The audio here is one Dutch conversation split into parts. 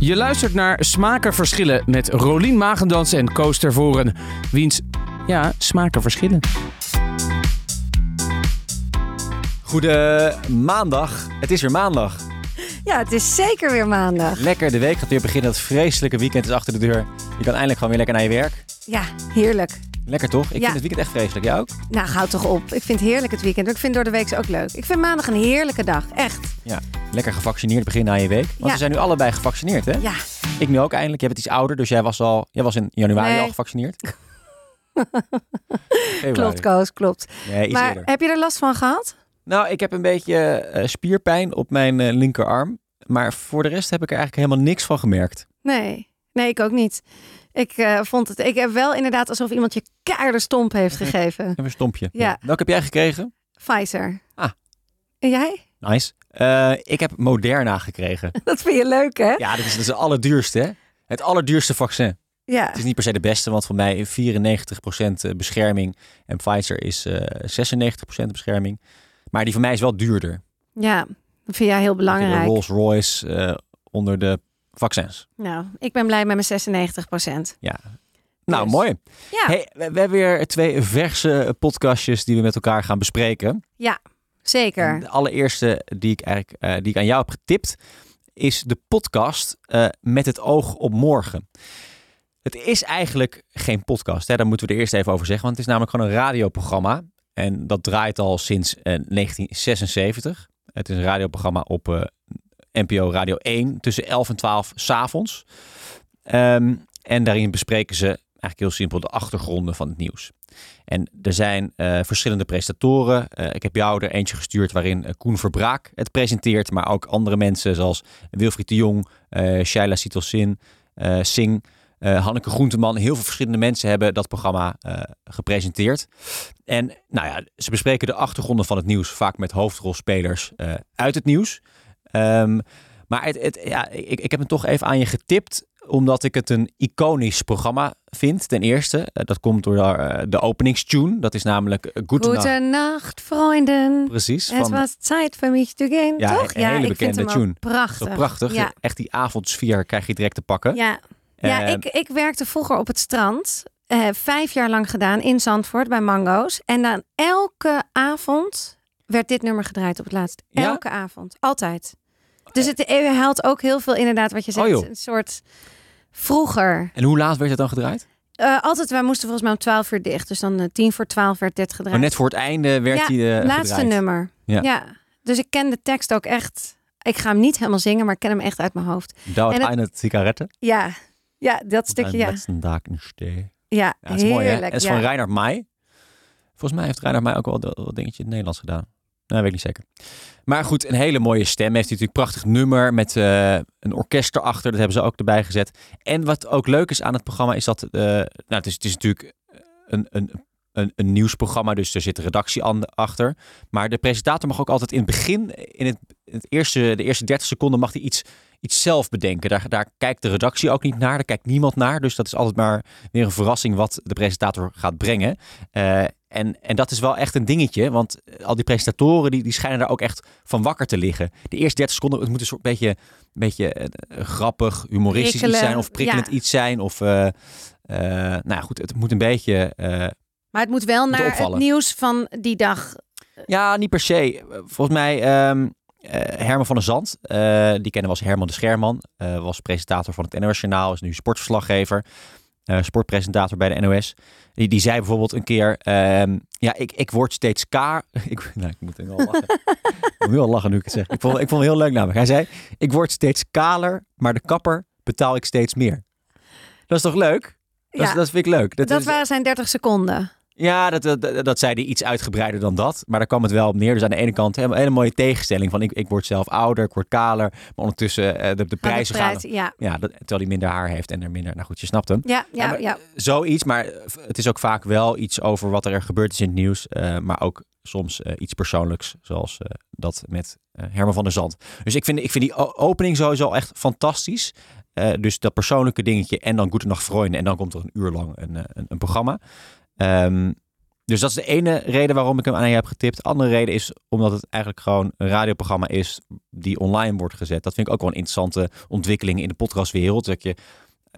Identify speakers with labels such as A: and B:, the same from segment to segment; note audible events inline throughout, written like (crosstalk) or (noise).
A: Je luistert naar Smaken Verschillen met Rolien Magendans en Koos Tervoren. Wiens, ja, smaken verschillen.
B: Goede maandag. Het is weer maandag.
C: Ja, het is zeker weer maandag.
B: Lekker, de week gaat weer beginnen. Dat vreselijke weekend is achter de deur. Je kan eindelijk gewoon weer lekker naar je werk.
C: Ja, heerlijk.
B: Lekker toch? Ik
C: Ja.
B: vind het weekend echt vreselijk. Jij ook?
C: Nou, hou toch op. Ik vind het heerlijk het weekend. Maar ik vind door de week ook leuk. Ik vind maandag een heerlijke dag. Echt.
B: Lekker gevaccineerd begin na je week. Want
C: Ja.
B: we zijn nu allebei gevaccineerd, hè?
C: Ja.
B: Ik nu ook eindelijk. Jij bent iets ouder, dus jij was, al, jij was in januari
C: Nee.
B: al
C: (laughs)
B: gevaccineerd. Februari.
C: Klopt, Koos. Klopt.
B: Nee, iets
C: maar
B: eerder.
C: heb je er last van gehad?
B: Nou, ik heb een beetje eh, spierpijn op mijn eh, linkerarm. Maar voor de rest heb ik er eigenlijk helemaal niks van gemerkt.
C: Nee. Nee, ik ook niet. Ik eh, vond het... Ik heb wel inderdaad alsof iemand je keiharde stomp
B: (laughs)
C: heeft gegeven.
B: Even een stompje.
C: Ja.
B: Welke heb jij gekregen?
C: Pfizer.
B: Ah.
C: En jij? (laughs)
B: Nice. Eh, ik heb Moderna gekregen.
C: Dat vind je leuk, hè?
B: Ja, dat is, dat is het allerduurste, hè? Het allerduurste vaccin.
C: Ja.
B: Het is niet per se de beste, want voor mij 94% bescherming. En Pfizer is eh 96% bescherming. Maar die van mij is wel duurder.
C: Ja. Dat vind jij heel
B: De
C: belangrijk.
B: Rolls Royce eh, onder de vaccins.
C: Nou, ik ben blij met mijn 96 procent.
B: Nou,
C: Dus.
B: mooi.
C: Ja.
B: Hey, we, we hebben weer twee verse podcastjes die we met elkaar gaan bespreken.
C: Zeker.
B: En eh, De allereerste die ik, eigenlijk, eh, die ik aan jou heb getipt is de podcast eh, Met het oog op morgen. Het is eigenlijk geen podcast, hè? daar moeten we er eerst even over zeggen. Want het is namelijk gewoon een radioprogramma. En dat draait al sinds eh, 1976. Het is een radioprogramma op eh, NPO Radio 1 tussen 11 en 12 s'avonds. Ehm en daarin bespreken ze eigenlijk heel simpel de achtergronden van het nieuws. En er zijn eh, verschillende presentatoren. Eh, ik heb jou er eentje gestuurd waarin eh, Koen Verbraak het presenteert. Maar ook andere mensen zoals Wilfried de Jong, eh Shaila Sitosin, eh Singh, eh, Hanneke Groenteman. Heel veel verschillende mensen hebben dat programma eh, gepresenteerd. En nou ja, ze bespreken de achtergronden van het nieuws. Vaak met hoofdrolspelers eh, uit het nieuws. Ehm, maar het, het, ja, ik, ik heb hem toch even aan je getipt omdat ik het een iconisch programma vind, ten eerste. Eh, Dat komt door eh, de openingstune. Dat is namelijk eh, Goedenacht.
C: Goedenacht, vrienden.
B: Precies.
C: Het
B: van,
C: was tijd voor mich te gaan,
B: Ja,
C: toch?
B: een hele
C: ik
B: bekende
C: vind hem ook
B: tune.
C: Prachtig.
B: Zo prachtig.
C: Ja,
B: Echt die avondsfeer krijg je direct te pakken.
C: ja. ja
B: Eh,
C: ik, ik werkte vroeger op het strand. eh, vijf jaar lang gedaan in Zandvoort bij Mango's. En dan elke avond werd dit nummer gedraaid op het laatst.
B: Ja?
C: Elke avond. Altijd. Dus het haalt ook heel veel inderdaad wat je
B: Oh,
C: zegt.
B: joh.
C: een soort vroeger.
B: En hoe laat werd het dan gedraaid?
C: Eh, altijd, wij moesten volgens mij om twaalf uur dicht. Dus dan eh, tien voor twaalf werd dit gedraaid.
B: Maar Oh, net voor het einde werd
C: Ja,
B: hij eh,
C: Laatste
B: gedraaid.
C: nummer.
B: Ja.
C: Ja. Dus ik ken de tekst ook echt. Ik ga hem niet helemaal zingen, maar ik ken hem echt uit mijn hoofd.
B: Dauert
C: En het-
B: eine Zigarette.
C: Ja, ja dat stukje.
B: Stukje,
C: Ja,
B: dag een stee.
C: ja,
B: Ja, het is mooi, hè?
C: heerlijk.
B: Het is
C: ja.
B: van Reinhard Meij. Volgens mij heeft Reinhard Meij ook wel dat dat dingetje in het Nederlands gedaan. Nou, weet ik niet zeker. Maar goed, een hele mooie stem. Heeft hij natuurlijk een prachtig nummer met eh, een orkest erachter. Dat hebben ze ook erbij gezet. En wat ook leuk is aan het programma is dat... eh, nou, het is, het is natuurlijk een, een, een, een nieuwsprogramma, dus er zit een redactie aan, achter. Maar de presentator mag ook altijd in het begin, in het, in het eerste, de eerste 30 seconden, mag hij iets, iets zelf bedenken. Daar, daar kijkt de redactie ook niet naar, daar kijkt niemand naar. Dus dat is altijd maar weer een verrassing wat de presentator gaat brengen. Eh, en, en dat is wel echt een dingetje, want eh, al die presentatoren die, die schijnen daar ook echt van wakker te liggen. De eerste 30 seconden, het moet een soort beetje, een beetje eh, grappig, humoristisch iets
C: Prikkelen,
B: zijn of prikkelend
C: ja.
B: iets zijn. Of, eh, eh, nou ja, goed, het moet een beetje. eh,
C: Maar het moet wel
B: Moet
C: naar
B: opvallen.
C: het nieuws van die dag.
B: ja, niet per se. Eh, Volgens mij ehm, eh, Herman van der Zand, eh, die kennen we als Herman de Scherman, eh, was presentator van het NOS Journaal, is nu sportverslaggever, eh, sportpresentator bij de NOS. Die, die zei bijvoorbeeld een keer, ehm, ja, ik, ik word steeds kaar. (laughs) Ik, nou, ik moet nu al lachen. ik moet nu al lachen nu ik het zeg. Ik vond, ik vond het heel leuk namelijk. Hij zei, ik word steeds kaler, maar de kapper betaal ik steeds meer. Dat is toch leuk? Dat,
C: Ja,
B: is- dat vind ik leuk.
C: dat,
B: is,
C: waren zijn 30 seconden.
B: ja, dat, dat, dat, dat zei hij iets uitgebreider dan dat. Maar daar kwam het wel op neer. Dus aan de ene kant een hele mooie tegenstelling. Van ik, ik word zelf ouder, ik word kaler. Maar ondertussen eh, de, de
C: Aan de
B: prijzen gaan.
C: prijs, Ja,
B: Ja, dat, terwijl hij minder haar heeft en er minder. Nou goed, je snapt hem.
C: ja,
B: Ja,
C: ja.
B: maar-
C: ja.
B: Zoiets, maar eh, het is ook vaak wel iets over wat er gebeurd is in het nieuws. eh, maar ook soms eh, iets persoonlijks, zoals eh, dat met eh, Herman van der Zand. Dus ik vind, ik vind die o- opening sowieso echt fantastisch. Eh, dus dat persoonlijke dingetje en dan Goedenacht Vrienden. En dan komt er een uur lang een, eh, een, een programma. Ehm, dus dat is de ene reden waarom ik hem aan je heb getipt. Andere reden is omdat het eigenlijk gewoon een radioprogramma is die online wordt gezet. Dat vind ik ook wel een interessante ontwikkeling in de podcastwereld. Dat, je,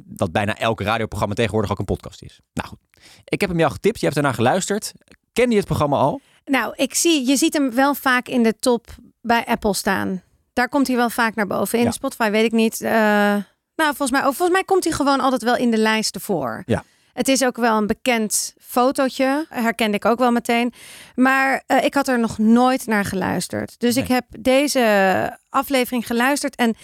B: dat bijna elke radioprogramma tegenwoordig ook een podcast is. Nou goed, ik heb hem jou getipt. Je hebt daarna geluisterd. Ken je het programma al?
C: Nou, ik zie, je ziet hem wel vaak in de top bij Apple staan. Daar komt hij wel vaak naar boven. In
B: Ja.
C: Spotify weet ik niet. eh, nou, volgens mij, oh, volgens mij komt hij gewoon altijd wel in de lijsten voor.
B: Ja.
C: Het is ook wel een bekend fotootje. Herkende ik ook wel meteen. Maar eh, ik had er nog nooit naar geluisterd. Dus ik
B: Nee.
C: heb deze aflevering geluisterd. En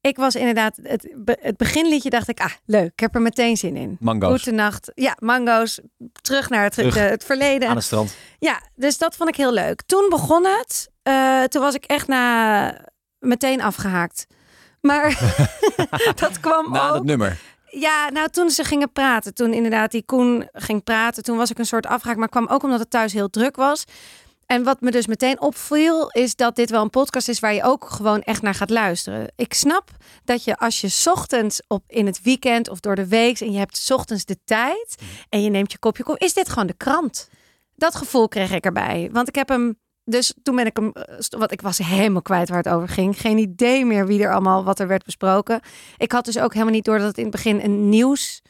C: ik was inderdaad... Het, be- het beginliedje dacht ik, ah, leuk. Ik heb er meteen zin in.
B: Mango's
C: Goedenacht. Ja, mango's. Terug naar het,
B: Terug.
C: de- het verleden.
B: aan het strand.
C: Ja, dus dat vond ik heel leuk. Toen begon het. Eh, toen was ik echt na meteen afgehaakt. Maar (laughs) dat kwam
B: Na
C: ook.
B: dat nummer.
C: Ja, nou toen ze gingen praten, toen inderdaad die Koen ging praten, toen was ik een soort afgehaakt. Maar kwam ook omdat het thuis heel druk was. En wat me dus meteen opviel, is dat dit wel een podcast is waar je ook gewoon echt naar gaat luisteren. Ik snap dat je als je 's ochtends op in het weekend of door de week en je hebt 's ochtends de tijd en je neemt je kopje koffie, is dit gewoon de krant. Dat gevoel kreeg ik erbij, want ik heb hem. Dus toen ben ik hem, eh, st- want ik was helemaal kwijt waar het over ging. Geen idee meer wie er allemaal wat er werd besproken. Ik had dus ook helemaal niet door dat het in het begin een nieuws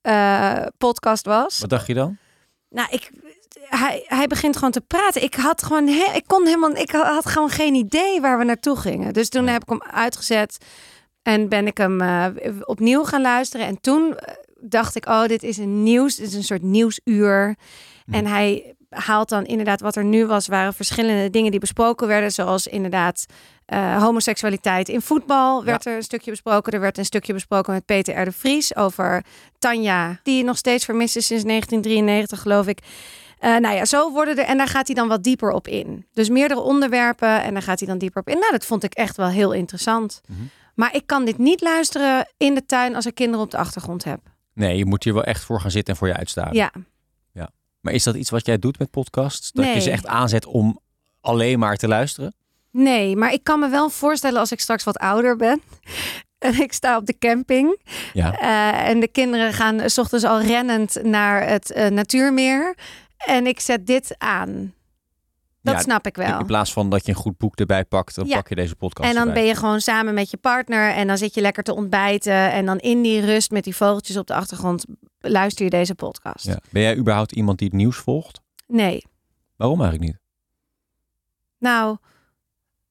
C: eh, podcast was.
B: Wat dacht je dan?
C: Nou, ik, hij, hij begint gewoon te praten. Ik had gewoon, he- ik kon helemaal, ik had gewoon geen idee waar we naartoe gingen. Dus toen heb ik hem uitgezet en ben ik hem eh, opnieuw gaan luisteren. En toen eh, dacht ik, oh, dit is een nieuws, dit is een soort nieuwsuur. En hij haalt dan inderdaad wat er nu was, waren verschillende dingen die besproken werden, zoals inderdaad eh, homoseksualiteit in voetbal werd er een stukje besproken. Er werd een stukje besproken met Peter R. de Vries over Tanja, die nog steeds vermist is sinds 1993, geloof ik. Eh, nou ja, zo worden er. En daar gaat hij dan wat dieper op in. Dus meerdere onderwerpen en daar gaat hij dan dieper op in. Nou, dat vond ik echt wel heel interessant.
B: Mhm.
C: Maar ik kan dit niet luisteren in de tuin als ik kinderen op de achtergrond heb.
B: Nee, je moet hier wel echt voor gaan zitten en voor je uitstaven.
C: Ja.
B: Maar is dat iets wat jij doet met podcasts? Dat je
C: Nee.
B: ze echt aanzet om alleen maar te luisteren?
C: Nee, maar ik kan me wel voorstellen als ik straks wat ouder ben. (laughs) En ik sta op de camping.
B: Ja.
C: Eh, en de kinderen gaan s ochtends al rennend naar het eh, natuurmeer. En ik zet dit aan. Dat
B: Ja,
C: snap ik wel.
B: In plaats van dat je een goed boek erbij pakt, dan
C: Ja.
B: pak je deze podcast
C: En dan
B: erbij.
C: ben je gewoon samen met je partner en dan zit je lekker te ontbijten. En dan in die rust met die vogeltjes op de achtergrond luister je deze podcast.
B: Ja. Ben jij überhaupt iemand die het nieuws volgt?
C: Nee,
B: Waarom eigenlijk niet?
C: Nou,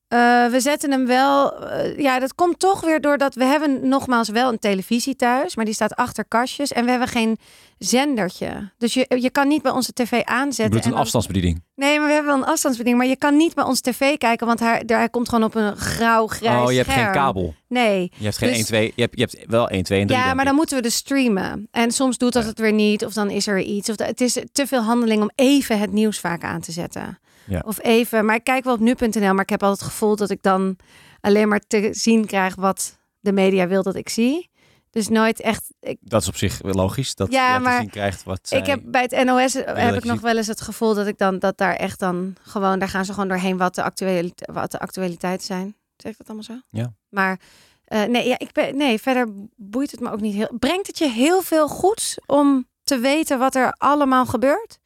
C: eh, we zetten hem wel. eh, ja, dat komt toch weer doordat we hebben nogmaals wel een televisie thuis, maar die staat achter kastjes en we hebben geen zendertje. Dus je, je kan niet bij onze tv
B: Je
C: aanzetten.
B: bedoelt
C: en
B: een
C: dan-
B: afstandsbediening.
C: Nee, maar we hebben wel een afstandsbediening. Maar je kan niet bij onze tv kijken, want hij, daar hij komt gewoon op een grauw grijs
B: oh, je hebt geen
C: scherm.
B: kabel.
C: Nee.
B: Je hebt geen
C: Dus-
B: 1, 2. Je hebt, je hebt wel 1, 2 en 3.
C: Ja, maar dan
B: moet...
C: moeten we dus streamen. En soms doet dat
B: Ja.
C: het weer niet. Of dan is er iets. Of da- het is te veel handeling om even het nieuws vaak aan te zetten.
B: Ja.
C: Of even. Maar ik kijk wel op nu.nl. Maar ik heb altijd het gevoel dat ik dan alleen maar te zien krijg wat de media wil dat ik zie. Dus nooit echt. Ik,
B: Dat is op zich wel logisch. Dat
C: Ja,
B: je te
C: maar
B: zien krijgt wat zij...
C: ik heb bij het NOS eh, heb
B: dat
C: ik
B: je
C: nog
B: ziet.
C: wel eens het gevoel dat ik dan dat daar echt dan gewoon daar gaan ze gewoon doorheen wat de actualiteit, wat de actualiteiten zijn. Zeg ik dat allemaal zo?
B: Ja.
C: Maar eh, nee, ja, ik ben, nee, verder boeit het me ook niet heel. Brengt het je heel veel goeds om te weten wat er allemaal gebeurt?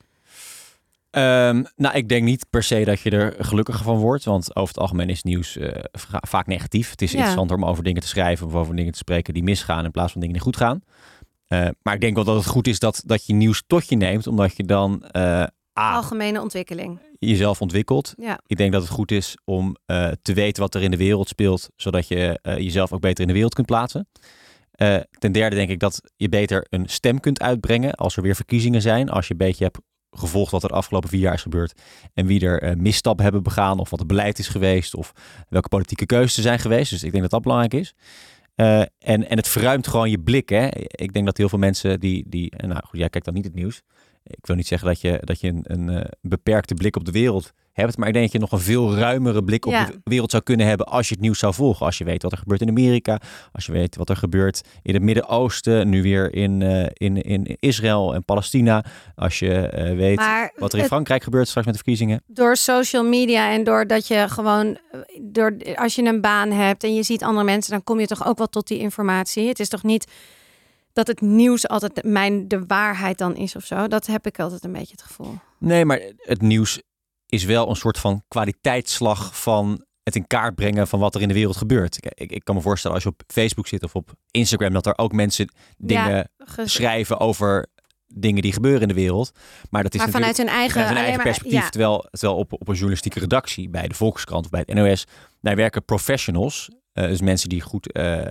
B: Ehm, nou, ik denk niet per se dat je er gelukkiger van wordt. Want over het algemeen is nieuws eh, va- vaak negatief. Het is
C: Ja.
B: interessant om over dingen te schrijven of over dingen te spreken die misgaan in plaats van dingen die goed gaan. Eh, maar ik denk wel dat het goed is dat, dat je nieuws tot je neemt, omdat je dan eh, A,
C: Algemene ontwikkeling.
B: jezelf ontwikkelt.
C: Ja.
B: Ik denk dat het goed is om eh, te weten wat er in de wereld speelt, zodat je eh, jezelf ook beter in de wereld kunt plaatsen. Eh, ten derde denk ik dat je beter een stem kunt uitbrengen als er weer verkiezingen zijn. Als je een beetje hebt gevolgd wat er de afgelopen vier jaar is gebeurd en wie er eh, misstappen hebben begaan of wat het beleid is geweest of welke politieke keuzes er zijn geweest. Dus ik denk dat dat belangrijk is. Eh, en, en het verruimt gewoon je blik. Hè? Ik denk dat heel veel mensen die... die eh, nou goed, jij kijkt dan niet het nieuws. Ik wil niet zeggen dat je, dat je een, een eh, beperkte blik op de wereld hebt. Maar ik denk dat je nog een veel ruimere blik op
C: Ja.
B: de wereld zou kunnen hebben als je het nieuws zou volgen. Als je weet wat er gebeurt in Amerika. Als je weet wat er gebeurt in het Midden-Oosten. Nu weer in, eh, in, in Israël en Palestina. Als je eh, weet
C: Maar
B: wat er in
C: het-
B: Frankrijk gebeurt straks met de verkiezingen.
C: door social media en doordat je gewoon, eh, door, als je een baan hebt en je ziet andere mensen, dan kom je toch ook wel tot die informatie. Het is toch niet dat het nieuws altijd mijn, de waarheid dan is of zo. Dat heb ik altijd een beetje het gevoel.
B: Nee, maar het nieuws is wel een soort van kwaliteitsslag van het in kaart brengen van wat er in de wereld gebeurt. Ik, ik, ik kan me voorstellen als je op Facebook zit of op Instagram, dat er ook mensen dingen
C: Ge-
B: schrijven over dingen die gebeuren in de wereld. Maar dat is
C: maar
B: natuurlijk
C: vanuit hun eigen,
B: vanuit een
C: alleen
B: eigen
C: maar-
B: perspectief.
C: ja.
B: Terwijl, terwijl op, op een journalistieke redactie bij de Volkskrant of bij het NOS, daar werken professionals. eh, dus mensen die goed eh,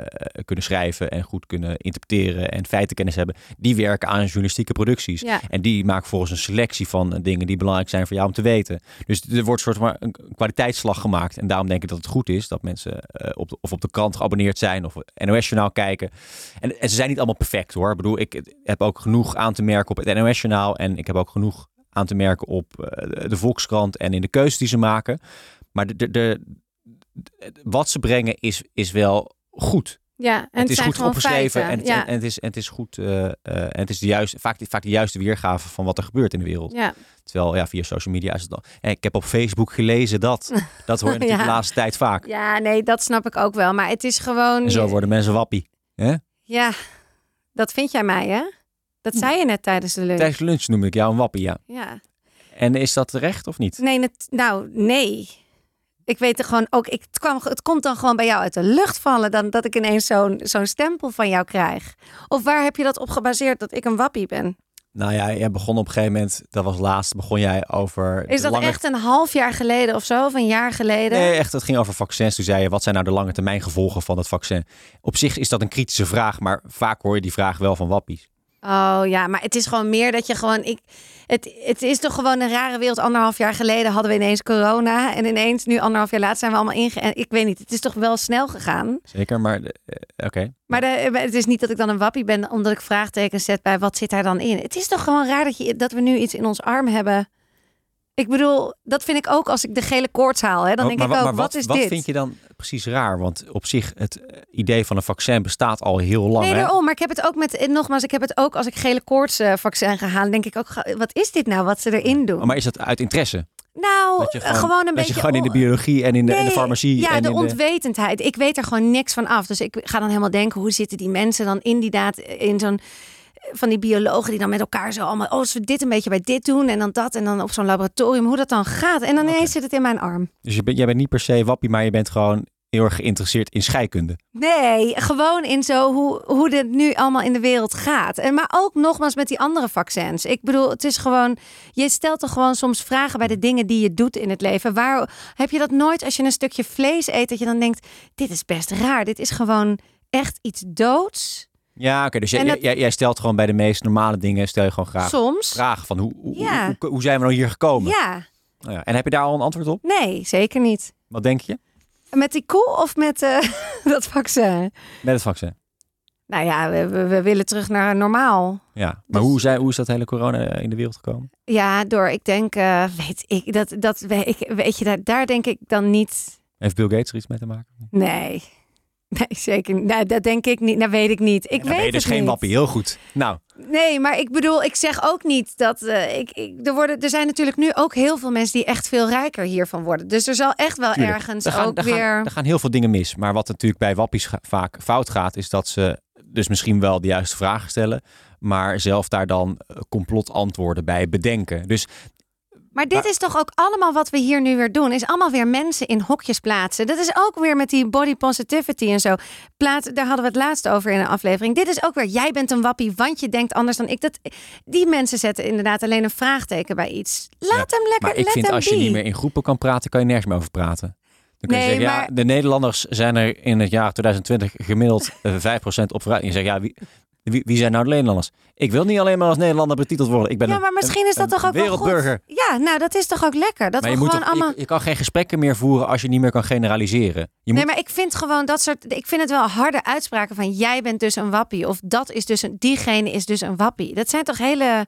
B: kunnen schrijven en goed kunnen interpreteren en feitenkennis hebben. Die werken aan journalistieke producties.
C: Ja.
B: En die maken volgens een selectie van eh, dingen die belangrijk zijn voor jou om te weten. Dus er wordt soort maar een kwaliteitsslag gemaakt. En daarom denk ik dat het goed is dat mensen eh, op de, of op de krant geabonneerd zijn of NOS-journaal kijken. En, en ze zijn niet allemaal perfect hoor. Ik bedoel, ik heb ook genoeg aan te merken op het NOS-journaal. En ik heb ook genoeg aan te merken op eh, de Volkskrant en in de keuzes die ze maken. Maar de, de, de, de- wat ze brengen is, is wel goed
C: Ja, en
B: het is
C: zijn
B: goed
C: gewoon
B: opgeschreven
C: feiten.
B: en, het,
C: ja.
B: en, het is, en het is goed. eh, eh, en het is de juiste, vaak, vaak de juiste weergave van wat er gebeurt in de wereld.
C: ja.
B: Terwijl ja, via social media is het dan. En ik heb op Facebook gelezen
C: (laughs)
B: dat. Dat hoor je natuurlijk
C: Ja.
B: de laatste tijd vaak.
C: ja, nee, dat snap ik ook wel. Maar het is gewoon...
B: En zo worden mensen wappie.
C: Ja, dat vind jij mij, hè? Dat zei je net tijdens de lunch.
B: Hm. Tijdens lunch noem ik jou een wappie, ja.
C: Ja.
B: En is dat terecht of niet?
C: Nee, net- nou, nee. Ik weet er gewoon ook, ik, het, kwam, het komt dan gewoon bij jou uit de lucht vallen, dan dat ik ineens zo'n zo'n stempel van jou krijg. Of waar heb je dat op gebaseerd dat ik een wappie ben?
B: Nou ja, jij begon op een gegeven moment, dat was laatst, begon jij over.
C: Is
B: de
C: dat
B: lange...
C: echt een half jaar geleden of zo, of een jaar geleden?
B: Nee, echt, het ging over vaccins. Toen zei je, wat zijn nou de lange termijn gevolgen van dat vaccin? Op zich is dat een kritische vraag, maar vaak hoor je die vraag wel van wappies.
C: Oh ja, maar het is gewoon meer dat je gewoon. Ik, het, het is toch gewoon een rare wereld. Anderhalf jaar geleden hadden we ineens corona. En ineens, nu anderhalf jaar later, zijn we allemaal inge. en Ik weet niet, het is toch wel snel gegaan.
B: Zeker, maar eh, oké.
C: Maar de- eh, het is niet dat ik dan een wappie ben omdat ik vraagtekens zet bij wat zit daar dan in. Het is toch gewoon raar dat, je, dat we nu iets in ons arm hebben. Ik bedoel, dat vind ik ook als ik de gele koorts haal. Hè, dan
B: Oh,
C: denk
B: maar
C: ik ook,
B: wa-
C: wat,
B: maar wat,
C: is
B: wat
C: dit?
B: vind je dan precies raar? Want op zich, het eh, idee van een vaccin bestaat al heel lang.
C: Nee,
B: hè?
C: daarom. Maar ik heb het ook met, eh, nogmaals, ik heb het ook als ik gele koorts eh, vaccin ga halen. Denk ik ook, ga- wat is dit nou wat ze erin doen?
B: Oh, Maar is dat uit interesse?
C: Nou,
B: Dat je
C: eh,
B: gewoon-
C: gewoon, een
B: dat
C: beetje...
B: je gewoon in de
C: on-
B: biologie en in de, en de
C: Nee,
B: farmacie
C: Ja,
B: en
C: de
B: in
C: onwetendheid. Ik weet er gewoon niks van af. Dus ik ga dan helemaal denken, hoe zitten die mensen dan inderdaad in zo'n... Van die biologen die dan met elkaar zo allemaal... Oh, als we dit een beetje bij dit doen en dan dat en dan op zo'n laboratorium. Hoe dat dan gaat. En dan ineens zit het in mijn arm.
B: Dus je bent, jij bent niet per se wappie, maar je bent gewoon heel erg geïnteresseerd in scheikunde.
C: Nee, gewoon in zo hoe, hoe dit nu allemaal in de wereld gaat. En maar ook nogmaals met die andere vaccins. Ik bedoel, het is gewoon. Je stelt toch gewoon soms vragen bij de dingen die je doet in het leven. Waar heb je dat nooit als je een stukje vlees eet, dat je dan denkt: dit is best raar. Dit is gewoon echt iets doods.
B: Ja, oké. dus jij,
C: En dat-
B: jij, jij stelt gewoon bij de meest normale dingen, stel je gewoon graag
C: soms.
B: vragen van hoe, hoe,
C: Ja.
B: hoe, hoe- hoe zijn we nou hier gekomen?
C: Ja,
B: Nou ja, En heb je daar al een antwoord op?
C: nee, zeker niet.
B: Wat denk je?
C: Met die koe of met eh, (laughs) dat vaccin?
B: Met het vaccin.
C: Nou ja, we, we, we willen terug naar normaal.
B: Ja. Maar
C: Dus-
B: hoe, zijn, hoe is dat hele corona eh, in de wereld gekomen?
C: Ja, door, ik denk, eh, weet ik, dat, dat we- ik, weet je, daar, daar denk ik dan niet.
B: Heeft Bill Gates er iets mee te maken?
C: Nee. Nee, zeker. niet. Nou, dat denk ik niet. Dat weet ik niet. Ik
B: Dan ben
C: weet
B: je dus
C: het
B: geen
C: niet.
B: wappie. Heel goed. Nou,
C: Nee, maar ik bedoel, ik zeg ook niet dat. eh, ik, ik, er, worden, er zijn natuurlijk nu ook heel veel mensen die echt veel rijker hiervan worden. Dus er zal echt wel
B: Tuurlijk.
C: ergens
B: Er gaan,
C: ook
B: er gaan-
C: weer.
B: er gaan heel veel dingen mis. Maar wat natuurlijk bij wappies ga- vaak fout gaat, is dat ze dus misschien wel de juiste vragen stellen, maar zelf daar dan eh, complotantwoorden bij bedenken. Dus
C: Maar dit
B: Maar-
C: is toch ook allemaal wat we hier nu weer doen? Is allemaal weer mensen in hokjes plaatsen. Dat is ook weer met die body positivity en zo. Plaats, daar hadden we het laatst over in een aflevering. Dit is ook weer, jij bent een wappie, want je denkt anders dan ik. Dat, die mensen zetten inderdaad alleen een vraagteken bij iets. Laat hem lekker,
B: maar ik
C: let
B: vind
C: hem
B: als je
C: die.
B: niet meer in groepen kan praten, kan je nergens meer over praten. Dan kun
C: Nee,
B: je zeggen, ja,
C: maar-
B: de Nederlanders zijn er in het jaar 2020 gemiddeld eh, (laughs) 5% op vooruit. En je zegt, ja, wie, wie, wie zijn nou de Nederlanders? Ik wil niet alleen maar als Nederlander betiteld worden. Ik ben
C: ja,
B: een-
C: maar misschien is
B: een-
C: dat toch
B: een
C: ook wel
B: wereldburger.
C: goed. Ja, nou dat is toch ook lekker. Dat
B: maar
C: we
B: je, moet
C: gewoon
B: toch-
C: allemaal...
B: je, je kan geen gesprekken meer voeren als je niet meer kan generaliseren. Je moet
C: Nee, maar ik vind gewoon dat soort. Ik vind het wel harde uitspraken van jij bent dus een wappie. Of dat is dus een. Diegene is dus een wappie. Dat zijn toch hele.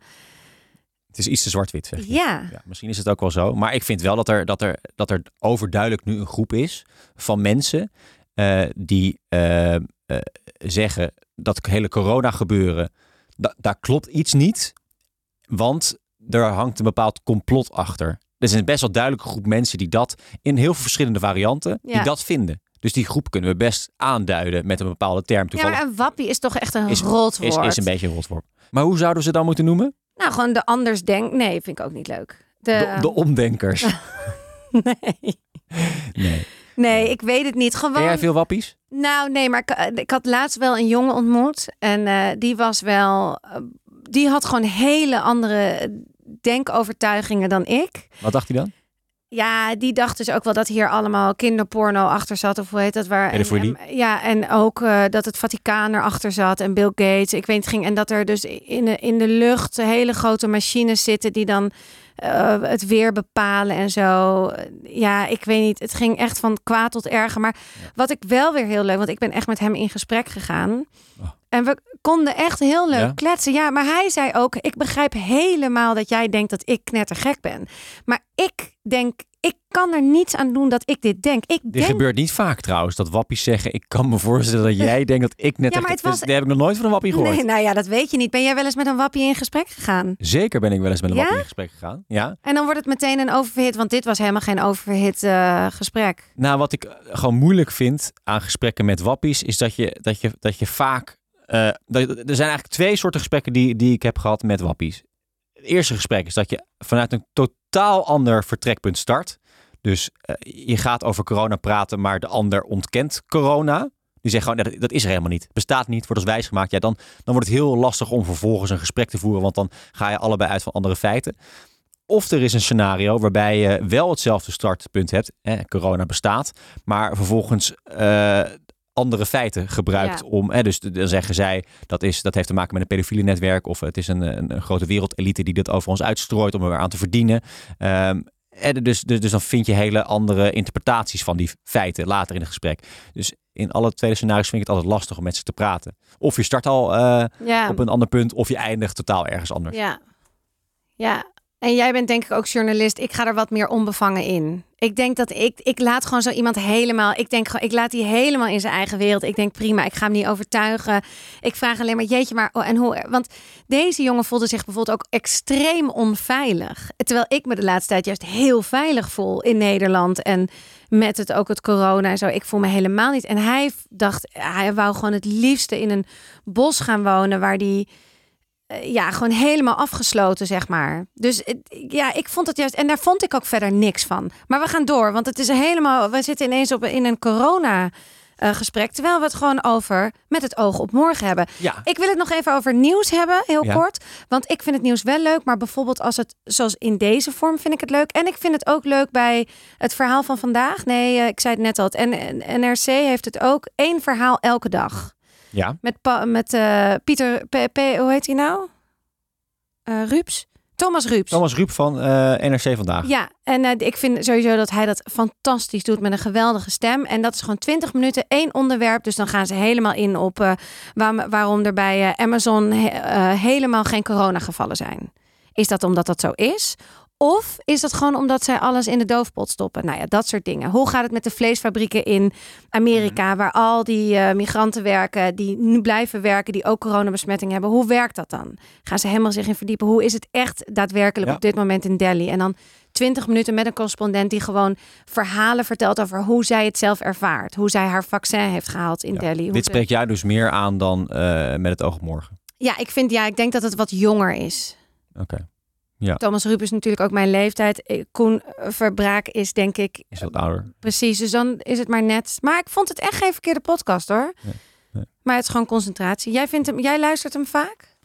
B: Het is iets te zwart-wit, zeg je.
C: Ja.
B: Ja, misschien is het ook wel zo. Maar ik vind wel dat er, dat er, dat er overduidelijk nu een groep is van mensen eh, die eh, eh, zeggen dat hele corona gebeuren, da- daar klopt iets niet, want er hangt een bepaald complot achter. Dus Er is een best wel duidelijke groep mensen die dat in heel veel verschillende varianten,
C: Ja.
B: die dat vinden. Dus die groep kunnen we best aanduiden met een bepaalde term.
C: Ja,
B: Toevallig
C: maar een wappie is toch echt een
B: Is-
C: rotwoord.
B: is, is een beetje een rotwoord. Maar hoe zouden we ze dan moeten noemen?
C: Nou, gewoon de anders denk. Nee, Eh. (laughs) vind ik ook niet leuk.
B: De,
C: De,
B: de omdenkers.
C: nee.
B: Nee.
C: Nee, ik weet het niet.
B: Ken jij
C: Gewoon.
B: veel wappies?
C: Nou, nee, maar ik, ik had laatst wel een jongen ontmoet. En eh, die was wel. eh, die had gewoon hele andere denkovertuigingen dan ik.
B: Wat dacht hij dan?
C: Ja, die dacht dus ook wel dat hier allemaal kinderporno achter zat. Of hoe heet dat? Waar, en,
B: Pedofilie.
C: en- ja, en ook eh, dat het Vaticaan erachter zat en Bill Gates. Ik weet het ging. En dat er dus in de, in de lucht hele grote machines zitten die dan eh, het weer bepalen en zo. Ja, ik weet niet. Het ging echt van kwaad tot erger. Maar wat ik wel weer heel leuk, want ik ben echt met hem in gesprek gegaan.
B: Oh.
C: En we konden echt heel leuk
B: Ja?
C: kletsen. Ja, maar hij zei ook: Ik begrijp helemaal dat jij denkt dat ik knettergek ben. Maar ik denk, ik kan er niets aan doen dat ik dit denk. Ik
B: Dit
C: denk.
B: gebeurt niet vaak trouwens, dat wappies zeggen... ik kan me voorstellen dat jij denkt dat ik net...
C: Ja, maar
B: echt-
C: het was-
B: Daar heb ik nog nooit van een wappie gehoord.
C: Nee, nou ja, dat weet je niet. Ben jij wel eens met een wappie in gesprek gegaan?
B: Zeker ben ik wel eens met een
C: Ja?
B: wappie in gesprek gegaan. Ja.
C: En dan wordt het meteen een overhit, want dit was helemaal geen overhit eh, gesprek.
B: Nou, wat ik eh, gewoon moeilijk vind aan gesprekken met wappies... is dat je, dat je, dat je vaak... eh, dat, er zijn eigenlijk twee soorten gesprekken die, die ik heb gehad met wappies. Het eerste gesprek is dat je vanuit een totaal ander vertrekpunt start. Dus eh, je gaat over corona praten, maar de ander ontkent corona. Die zegt gewoon, "Nee, dat, dat is er helemaal niet. Bestaat niet, wordt als wijsgemaakt. Ja, dan, dan wordt het heel lastig om vervolgens een gesprek te voeren... want dan ga je allebei uit van andere feiten. Of er is een scenario waarbij je wel hetzelfde startpunt hebt. Hè, corona bestaat, maar vervolgens eh, andere feiten gebruikt
C: Ja.
B: om. Hè, dus dan zeggen zij dat, is, dat heeft te maken met een pedofiele netwerk. Of het is een, een, een grote wereldelite die dat over ons uitstrooit om er weer aan te verdienen. Ehm, en dus, dus, dus dan vind je hele andere interpretaties van die feiten later in het gesprek. Dus in alle tweede scenario's vind ik het altijd lastig om met ze te praten. Of je start al eh,
C: Ja.
B: op een ander punt, of je eindigt totaal ergens anders.
C: Ja. Ja. En jij bent denk ik ook journalist. Ik ga er wat meer onbevangen in. Ik denk dat ik, ik laat gewoon zo iemand helemaal. Ik denk gewoon, ik laat die helemaal in zijn eigen wereld. Ik denk prima, ik ga hem niet overtuigen. Ik vraag alleen maar, jeetje, maar oh, en hoe? Want deze jongen voelde zich bijvoorbeeld ook extreem onveilig. Terwijl ik me de laatste tijd juist heel veilig voel in Nederland. En met het ook het corona en zo. Ik voel me helemaal niet. En hij dacht, hij wou gewoon het liefste in een bos gaan wonen waar die eh, ja, gewoon helemaal afgesloten, zeg maar. Dus eh, ja, ik vond het juist. En daar vond ik ook verder niks van. Maar we gaan door, want het is helemaal. We zitten ineens op, in een corona-gesprek. terwijl we het gewoon over met het oog op morgen hebben.
B: Ja,
C: Ik wil het nog even over nieuws hebben, heel
B: Ja.
C: kort. Want ik vind het nieuws wel leuk. Maar bijvoorbeeld als het, zoals in deze vorm, vind ik het leuk. En ik vind het ook leuk bij het verhaal van vandaag. Nee, eh, ik zei het net al. En NRC heeft het ook. één verhaal elke dag.
B: ja.
C: Met, pa- met eh, Pieter, P, P- hoe heet hij nou? Eh, Ruups? Thomas Ruups.
B: Thomas Ruip van eh, NRC Vandaag.
C: Ja, en eh, ik vind sowieso dat hij dat fantastisch doet met een geweldige stem. En dat is gewoon 20 minuten, één onderwerp. Dus dan gaan ze helemaal in op eh, waarom, waarom er bij eh, Amazon he- eh, helemaal geen coronagevallen zijn. Is dat omdat dat zo is? Of is dat gewoon omdat zij alles in de doofpot stoppen? Nou ja, dat soort dingen. Hoe gaat het met de vleesfabrieken in Amerika,
B: Mhm.
C: waar al die eh, migranten werken, die nu blijven werken, die ook coronabesmetting hebben? Hoe werkt dat dan? Gaan ze helemaal zich in verdiepen? Hoe is het echt daadwerkelijk
B: Ja.
C: op dit moment in Delhi? En dan 20 minuten met een correspondent die gewoon verhalen vertelt over hoe zij het zelf ervaart. Hoe zij haar vaccin heeft gehaald in
B: Ja.
C: Delhi. Hoe
B: Dit
C: ze-
B: spreekt jou dus meer aan dan eh, met het oog op morgen.
C: Ja, ik vind ja, ik denk dat het wat jonger is.
B: Oké.
C: Thomas Ruip is natuurlijk ook mijn leeftijd. Eh, Koen eh, Verbraak is denk ik
B: Is wat ouder.
C: precies. Dus dan is het maar net. Maar ik vond het echt geen verkeerde podcast hoor.
B: Nee, nee.
C: Maar het is gewoon concentratie. Jij, vindt hem, jij luistert hem vaak?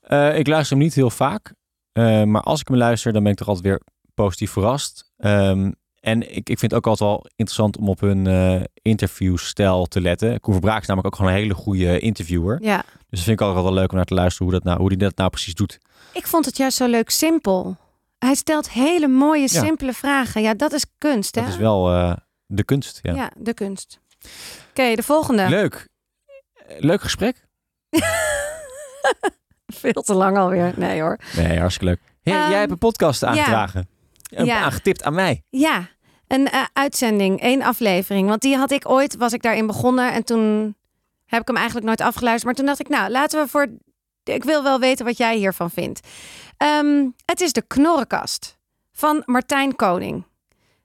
B: Eh, ik luister hem niet heel vaak. eh, maar als ik hem luister, dan ben ik toch altijd weer positief verrast. Ehm, en ik, ik vind het ook altijd wel interessant om op hun eh interviewstijl te letten. Koen Verbraak is namelijk ook gewoon een hele goede interviewer.
C: Ja.
B: Dus dat vind ik altijd wel leuk om naar te luisteren hoe, dat nou, hoe die dat nou precies doet.
C: Ik vond het juist zo leuk simpel. Hij stelt hele mooie,
B: Ja.
C: simpele vragen. Ja, dat is kunst hè?
B: Dat is wel eh, de kunst. Ja.
C: ja. de kunst. Oké, de volgende.
B: Leuk. Eh, Leuk gesprek.
C: (laughs) Veel te lang alweer. Nee hoor.
B: Nee, hartstikke leuk. Hey,
C: Ehm,
B: jij hebt een podcast
C: ja.
B: aangedragen. Een-
C: Ja.
B: Aangetipt aan mij.
C: Ja, een eh, uitzending, één aflevering. Want die had ik ooit, was ik daarin begonnen en toen heb ik hem eigenlijk nooit afgeluisterd. Maar toen dacht ik, nou, laten we voor. Ik wil wel weten wat jij hiervan vindt. Ehm, het is de Knorrenkast van Martijn Koning.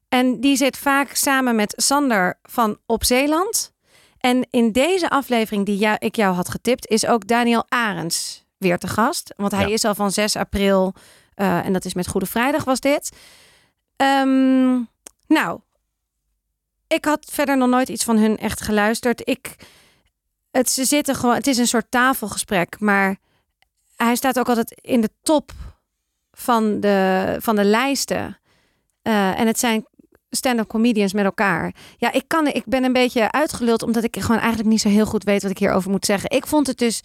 C: En die zit vaak samen met Sander van Op Zeeland. En in deze aflevering die jou- ik jou had getipt, is ook Daniel Arends weer te gast. Want hij
B: Ja.
C: is al van 6 april, eh, en dat is met Goede Vrijdag was dit. Ehm, nou, ik had verder nog nooit iets van hun echt geluisterd. Ik, het, ze zitten gewoon, het is een soort tafelgesprek, maar hij staat ook altijd in de top van de, van de lijsten. Eh, en het zijn stand-up comedians met elkaar. Ja, ik, kan, ik ben een beetje uitgeluld omdat ik gewoon eigenlijk niet zo heel goed weet wat ik hierover moet zeggen. Ik vond het dus.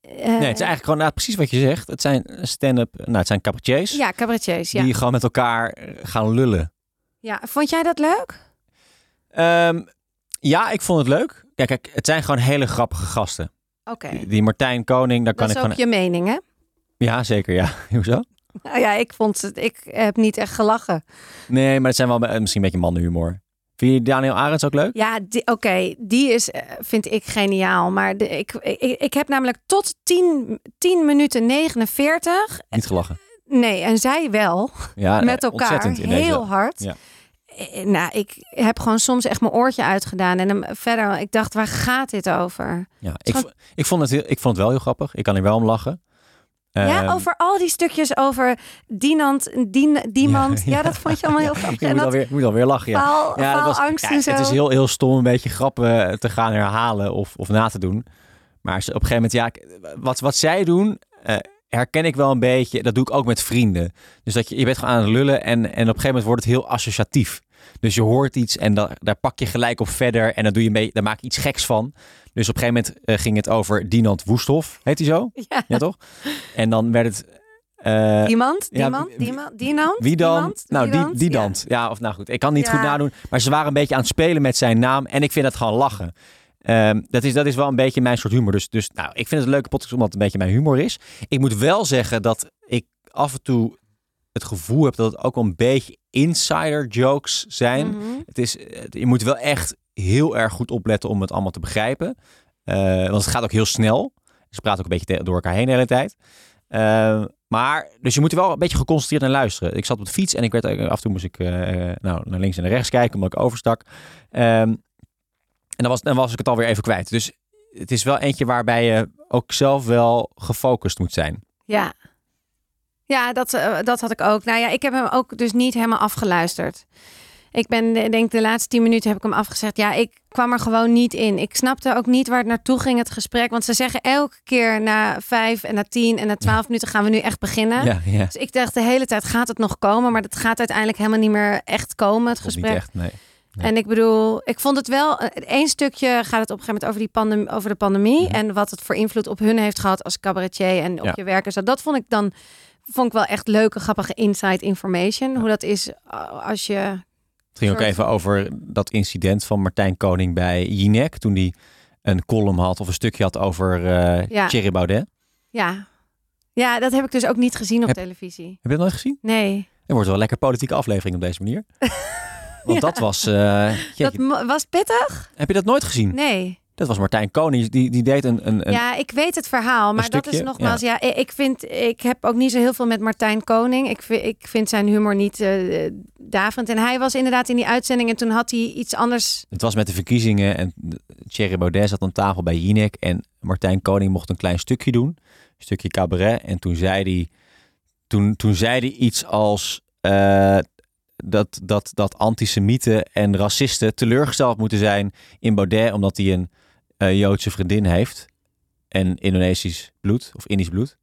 C: eh,
B: Nee, het is eigenlijk gewoon nou, precies wat je zegt. Het zijn stand-up, nou, het zijn cabaretiers
C: ja, cabaretiers. Ja.
B: die gewoon met elkaar eh, gaan lullen.
C: ja, vond jij dat leuk?
B: Ehm, ja, ik vond het leuk. Kijk, kijk, het zijn gewoon hele grappige gasten.
C: Oké.
B: Die, die Martijn Koning, daar
C: Eh. Dat
B: kan
C: is
B: ik
C: ook
B: gewoon...
C: je mening, hè? (laughs)
B: Ja, zeker, ja. (laughs) Hoezo?
C: Nou ja, ik vond het. Ik heb niet echt gelachen.
B: Nee, maar het zijn wel eh, misschien een beetje mannenhumor. Vind je Daniel Arends ook leuk?
C: Ja, die- oké, die is, eh, vind ik geniaal. Maar de, ik, ik, ik heb namelijk tot 10, 10 minuten 49.
B: Niet gelachen.
C: Nee, en zij wel.
B: Ja, eh,
C: met elkaar.
B: Ontzettend in deze-
C: Heel hard.
B: Ja.
C: Eh, Nou, ik heb gewoon soms echt mijn oortje uitgedaan. En hem verder, ik dacht, waar gaat dit over?
B: Ja, ik,
C: Gewoon-
B: vo- ik, vond het heel- ik vond het wel heel grappig. Ik kan er wel om lachen. Ehm,
C: ja, over al die stukjes over Dinant, Dien, Diemand. Ja,
B: (laughs) Ja,
C: dat vond je allemaal heel (laughs) grappig.
B: Je
C: en
B: moet,
C: dat
B: alweer, je moet alweer lachen, ja.
C: faal,
B: Ja, dat was-
C: faalangst
B: ja,
C: en zo.
B: Het is heel, heel stom een beetje grappen eh, te gaan herhalen of, of na te doen. Maar ze- op een gegeven moment, ja, k- wat, wat zij doen, eh, herken ik wel een beetje. Dat doe ik ook met vrienden. Dus dat je, je bent gewoon aan het lullen en, en op een gegeven moment wordt het heel associatief. Dus je hoort iets en da- daar pak je gelijk op verder en dan doe je mee, daar maak je iets geks van. Dus op een gegeven moment eh, ging het over Dinant Woesthof, heet hij zo?
C: Ja.
B: Ja, toch? En dan werd het... eh,
C: Iemand,
B: Ja,
C: iemand,
B: wie-
C: iemand, iemand,
B: wie dan? nou, die, die
C: dan.
B: dan. Ja. of nou goed. Ik kan niet
C: Ja.
B: goed nadoen. Maar ze waren een beetje aan het spelen met zijn naam. En ik vind dat gewoon lachen. Ehm, dat, is, dat is wel een beetje mijn soort humor. Dus, dus nou, ik vind het een leuke podcast omdat het een beetje mijn humor is. Ik moet wel zeggen dat ik af en toe het gevoel heb dat het ook wel een beetje insider jokes zijn.
C: Mhm.
B: Het is, het- je moet wel echt heel erg goed opletten om het allemaal te begrijpen. Eh, want het gaat ook heel snel. Ze praten ook een beetje te- door elkaar heen de hele tijd. Eh, maar, dus je moet er wel een beetje geconcentreerd naar luisteren. Ik zat op de fiets en ik werd, af en toe moest ik eh, eh, nou, naar links en naar rechts kijken, omdat ik overstak. Ehm, en dan was, dan was ik het alweer even kwijt. Dus het is wel eentje waarbij je ook zelf wel gefocust moet zijn.
C: Ja. Ja, dat, eh, dat had ik ook. Nou ja, ik heb hem ook dus niet helemaal afgeluisterd. Ik ben, eh, denk de laatste tien minuten heb ik hem afgezegd. Ja, ik kwam er gewoon niet in. Ik snapte ook niet waar het naartoe ging, het gesprek. Want ze zeggen elke keer na vijf en na tien en na twaalf minuten gaan we nu echt beginnen.
B: ja. ja.
C: Dus ik dacht de hele tijd gaat het nog komen. Maar dat gaat uiteindelijk helemaal niet meer echt komen, het
B: Of niet
C: gesprek.
B: echt, nee. Nee.
C: En ik bedoel, ik vond het wel. Eén stukje gaat het op een gegeven moment over, die pandem- over de pandemie.
B: Mhm.
C: En wat het voor invloed op hun heeft gehad als cabaretier en op
B: Ja.
C: je werk. en zo. dat vond ik dan vond ik wel echt leuke, grappige inside information. Hoe dat is uh, als je.
B: Het ging ook
C: Soort-
B: even over dat incident van Martijn Koning bij Jinek. Toen hij een column had of een stukje had over eh
C: Ja.
B: Thierry Baudet.
C: Ja. ja, dat heb ik dus ook niet gezien op
B: Heb-
C: televisie.
B: Heb je dat nooit gezien?
C: Nee.
B: Er wordt wel een lekker politieke aflevering op
C: (laughs)
B: deze manier. Want dat was... eh, jeetje,
C: Dat mo- was pittig?
B: Heb je dat nooit gezien?
C: Nee.
B: Dat was Martijn Koning. Die, die deed een... een, een
C: Ja, ik weet het verhaal, maar dat is
B: stukje,
C: nogmaals, ja. ik- ik vind, ik heb ook niet zo heel veel met Martijn Koning. Ik, vi- ik vind zijn humor niet eh daverend. En hij was inderdaad in die uitzending en toen had hij iets anders.
B: Het was met de verkiezingen en Thierry Baudet zat aan tafel bij Jinek. En Martijn Koning mocht een klein stukje doen. Een stukje cabaret. En toen zei hij... Toen, toen zei hij iets als... eh, dat, dat, dat antisemieten en racisten teleurgesteld moeten zijn in Baudet... omdat hij een eh, Joodse vriendin heeft. En Indonesisch bloed, of Indisch bloed.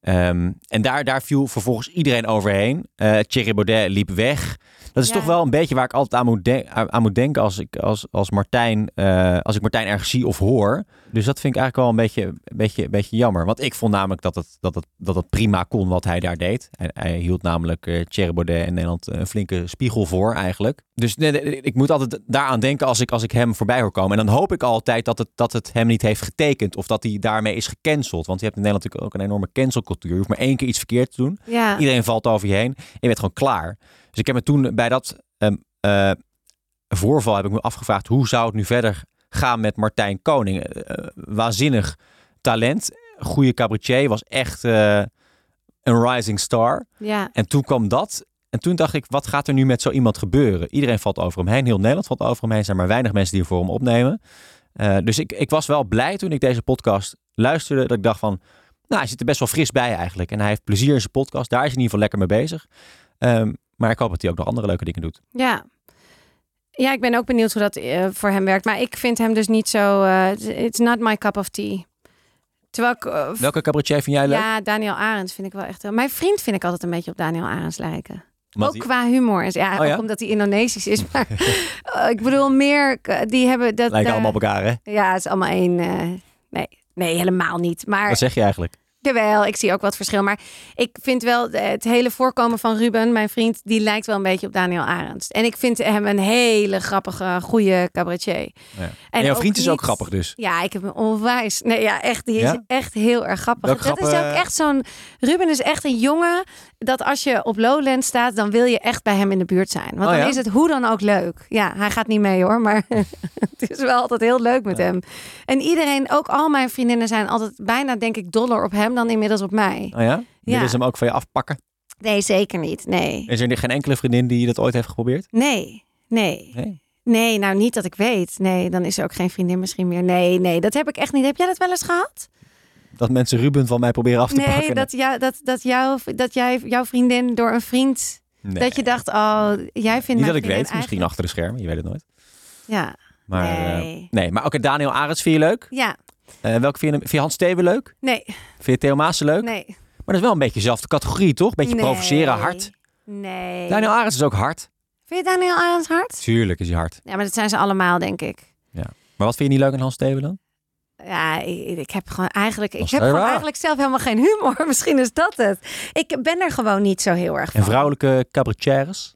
B: Ehm, en daar, daar viel vervolgens iedereen overheen. Eh Thierry Baudet liep weg. Dat is
C: Ja.
B: toch wel een beetje waar ik altijd aan moet, de- aan aan moet denken... als ik, als, als, Martijn, eh, als ik Martijn ergens zie of hoor. Dus dat vind ik eigenlijk wel een beetje, een beetje, een beetje jammer. Want ik vond namelijk dat het, dat, het, dat het prima kon wat hij daar deed. Hij, hij hield namelijk eh Thierry Baudet en Nederland een flinke spiegel voor eigenlijk. Dus nee, nee, ik moet altijd daaraan denken als ik, als ik hem voorbij hoor komen. En dan hoop ik altijd dat het, dat het hem niet heeft getekend. Of dat hij daarmee is gecanceld. Want je hebt in Nederland natuurlijk ook een enorme cancelcultuur. Je hoeft maar één keer iets verkeerd te doen.
C: Ja,
B: Iedereen valt over je heen. En je bent gewoon klaar. Dus ik heb me toen bij dat ehm, eh, voorval heb ik me afgevraagd... hoe zou het nu verder gaan met Martijn Koning? Eh, eh, waanzinnig talent. Goede cabaretier. Was echt eh, een rising star.
C: ja,
B: En toen kwam dat. En toen dacht ik, wat gaat er nu met zo iemand gebeuren? Iedereen valt over hem heen. Heel Nederland valt over hem heen. Er zijn maar weinig mensen die voor hem opnemen. Eh, dus ik, ik was wel blij toen ik deze podcast luisterde. Dat ik dacht van, nou, hij zit er best wel fris bij eigenlijk. En hij heeft plezier in zijn podcast. Daar is hij in ieder geval lekker mee bezig. Ehm, maar ik hoop dat hij ook nog andere leuke dingen doet.
C: ja. Ja, ik ben ook benieuwd hoe dat eh, voor hem werkt. Maar ik vind hem dus niet zo... eh, it's not my cup of tea. Terwijl ik... eh, v-
B: Welke cabaretier vind jij leuk?
C: ja, Daniel Arends vind ik wel echt... heel- Mijn vriend vind ik altijd een beetje op Daniel Arends lijken.
B: Want
C: ook
B: die
C: qua humor. en zo. Ja,
B: Oh ja?
C: ook omdat hij Indonesisch is.
B: (laughs)
C: Maar eh, ik bedoel meer... eh, Die hebben dat...
B: lijken
C: eh,
B: allemaal op elkaar, hè?
C: Ja, het is allemaal één... eh, nee, nee, helemaal niet. Maar
B: Wat zeg je eigenlijk?
C: Jawel, ik zie ook wat verschil. Maar ik vind wel de- het hele voorkomen van Ruben, mijn vriend, die lijkt wel een beetje op Daniel Arends. En ik vind hem een hele grappige, goede cabaretier.
B: Ja. En, jouw vriend is ook
C: niet-
B: grappig dus.
C: Ja, ik heb hem onwijs. Nee, ja, echt. Die is
B: Ja?
C: echt heel erg grappig.
B: Welke
C: dat is
B: grappen-
C: ook echt zo'n. Ruben is echt een jongen. Dat als je op Lowland staat, dan wil je echt bij hem in de buurt zijn. Want
B: Oh ja?
C: dan is het hoe dan ook leuk. Ja, hij gaat niet mee hoor. Maar (laughs) het is wel altijd heel leuk met hem. En iedereen, ook al mijn vriendinnen, zijn altijd bijna, denk ik, doller op hem dan inmiddels op mij.
B: Oh ja? Willen ze hem ook van je afpakken?
C: Nee, zeker niet. Nee.
B: Is er geen enkele vriendin die dat ooit heeft geprobeerd?
C: Nee. Nee.
B: Nee.
C: Nee, nou niet dat ik weet. Nee, dan is er ook geen vriendin misschien meer. Nee, nee, dat heb ik echt niet. Heb jij dat wel eens gehad?
B: Dat mensen Ruben van mij proberen af te
C: nee,
B: pakken?
C: dat, jou, dat, dat, jou, dat jij jouw vriendin door een vriend.
B: Nee.
C: Dat je dacht, oh, jij vindt.
B: Niet
C: mijn
B: dat ik weet,
C: vriendin
B: misschien achter de schermen, je weet het nooit.
C: eigenlijk- Ja,
B: Maar, eh,
C: Nee.
B: nee. maar oké, Daniel Arends vind je leuk.
C: ja.
B: Eh, welke vind je, hem- vind je Hans Steven leuk?
C: Nee,
B: Vind je Theo Maassen leuk?
C: nee.
B: Maar dat is wel een beetje dezelfde categorie, toch? Beetje
C: nee.
B: provoceren, hard.
C: Nee.
B: Daniel Arends is ook hard.
C: Vind je Daniel Arends hard?
B: Tuurlijk is hij hard.
C: Ja, maar dat zijn ze allemaal, denk ik.
B: Maar wat vind je niet leuk aan Hans Steven dan?
C: Ja, ik, ik heb gewoon eigenlijk. Ik
B: Dat is
C: heb
B: wel
C: gewoon
B: waar.
C: eigenlijk zelf helemaal geen humor. (laughs) Misschien is dat het. Ik ben er gewoon niet zo heel erg van.
B: En vrouwelijke cabaretières?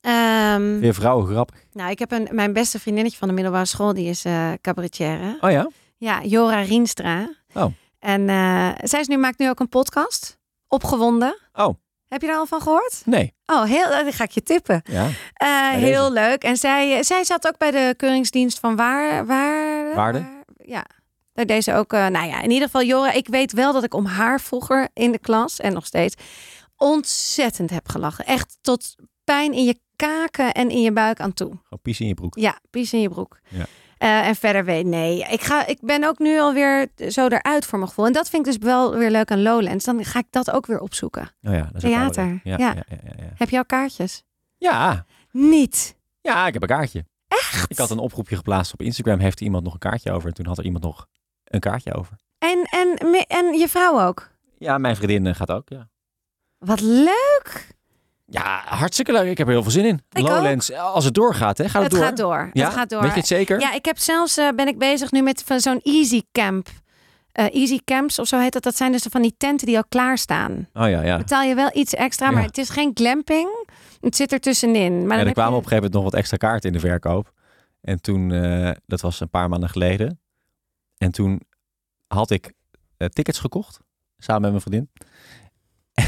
C: Ehm,
B: Weer vrouwen grappig.
C: nou, ik heb een, mijn beste vriendinnetje van de middelbare school, die is eh cabaretière.
B: Oh ja?
C: Ja, Jora Rienstra.
B: Oh.
C: En eh, zij is nu, maakt nu ook een podcast. Opgewonden.
B: Oh.
C: Heb je daar al van gehoord?
B: Nee.
C: Oh, heel, eh, die ga ik je tippen.
B: Ja.
C: Eh,
B: deze.
C: heel leuk. En zij, eh, zij zat ook bij de keuringsdienst van waar, waar,
B: Waarde.
C: waar- ja. Daar deed ze ook, eh, nou ja, in ieder geval Jora. Ik weet wel dat ik om haar vroeger in de klas en nog steeds ontzettend heb gelachen. Echt tot pijn in je kaken en in je buik aan toe.
B: Gewoon pies in je broek.
C: Ja, pies in je broek.
B: Ja.
C: Eh, en verder weet nee. Ik, ga, ik ben ook nu alweer zo eruit voor mijn gevoel. En dat vind ik dus wel weer leuk aan Lowlands. Dan ga ik dat ook weer opzoeken.
B: Oh ja, dat is ook wel
C: Theater,
B: leuk. Ja,
C: ja.
B: Ja, ja, ja, ja.
C: Heb je al kaartjes?
B: ja,
C: Niet.
B: ja, ik heb een kaartje. Echt? Ik had een oproepje geplaatst op Instagram. Heeft iemand nog een kaartje over? En toen had er iemand nog een kaartje over.
C: En, en, me- en je vrouw ook.
B: Ja, mijn vriendin eh, gaat ook, ja.
C: Wat leuk.
B: Ja, hartstikke leuk. Ik heb er heel veel zin in.
C: Ik
B: Lowlands, als het doorgaat, hè? Gaat het,
C: het
B: door?
C: gaat door.
B: Ja?
C: Het gaat door.
B: Weet je het zeker?
C: Ja, ik heb zelfs eh, ben ik bezig nu met van zo'n easy camp. Eh, easy camps of zo heet dat. Dat zijn dus van die tenten die al klaarstaan.
B: Oh ja, ja.
C: Betaal je wel iets extra, maar
B: Ja.
C: het is geen glamping. Het zit er tussenin. Maar
B: ja,
C: dan
B: er
C: heb je-
B: kwamen op een gegeven moment nog wat extra kaarten in de verkoop. En toen, eh, dat was een paar maanden geleden. En toen had ik eh, tickets gekocht, samen met mijn vriendin. (laughs)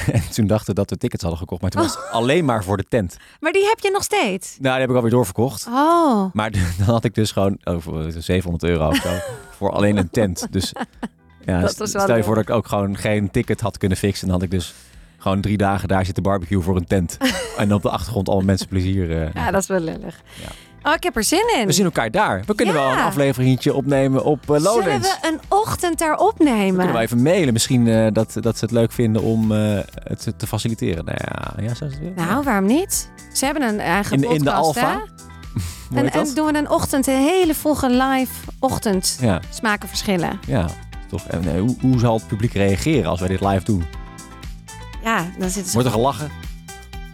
B: En toen dachten we dat we tickets hadden gekocht, maar toen
C: Oh.
B: was het alleen maar voor de tent.
C: Maar die heb je nog steeds.
B: Nou, die heb ik alweer doorverkocht.
C: Oh.
B: Maar (laughs) dan had ik dus gewoon over 700 euro of
C: (laughs)
B: zo voor alleen een tent. Dus ja,
C: Dat
B: st-
C: was wel
B: stel je
C: leuk.
B: voor dat ik ook gewoon geen ticket had kunnen fixen. Dan had ik dus gewoon drie dagen daar zitten barbecue voor een
C: (laughs)
B: tent. en op de achtergrond alle mensen plezier. eh,
C: Ja, dat is wel lullig.
B: Ja.
C: Oh, ik heb er zin in.
B: We zien elkaar daar. We kunnen
C: Ja.
B: wel een afleveringetje opnemen op eh,
C: Zullen
B: Lowlands.
C: we een ochtend daar
B: Dan
C: opnemen?
B: kunnen we even mailen. Misschien eh, dat, dat ze het leuk vinden om eh, het te faciliteren. Nou ja, ja zo is het weer.
C: Nou, waarom niet? Ze hebben een eigen
B: In de- in
C: podcast,
B: de
C: hè?
B: Alfa? Hoe
C: En,
B: heet dat?
C: en doen we een ochtend, een hele vroege live ochtend.
B: Ja,
C: Smaken verschillen.
B: ja. Toch, en, eh, hoe, hoe zal het publiek reageren als wij dit live doen?
C: Ja, dan zitten ze...
B: Wordt er gelachen?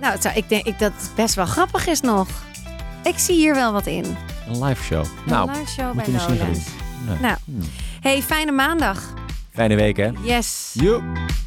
C: Nou, het zou- ik denk ik, dat het best wel grappig is nog. Ik zie hier wel wat in.
B: Een live show.
C: een
B: Nou,
C: live show bij
B: moeten we misschien gaan
C: Lowlands.
B: doen. Nee.
C: Nou,
B: Hmm.
C: hey, fijne maandag.
B: Fijne week hè?
C: Yes.
B: Joep.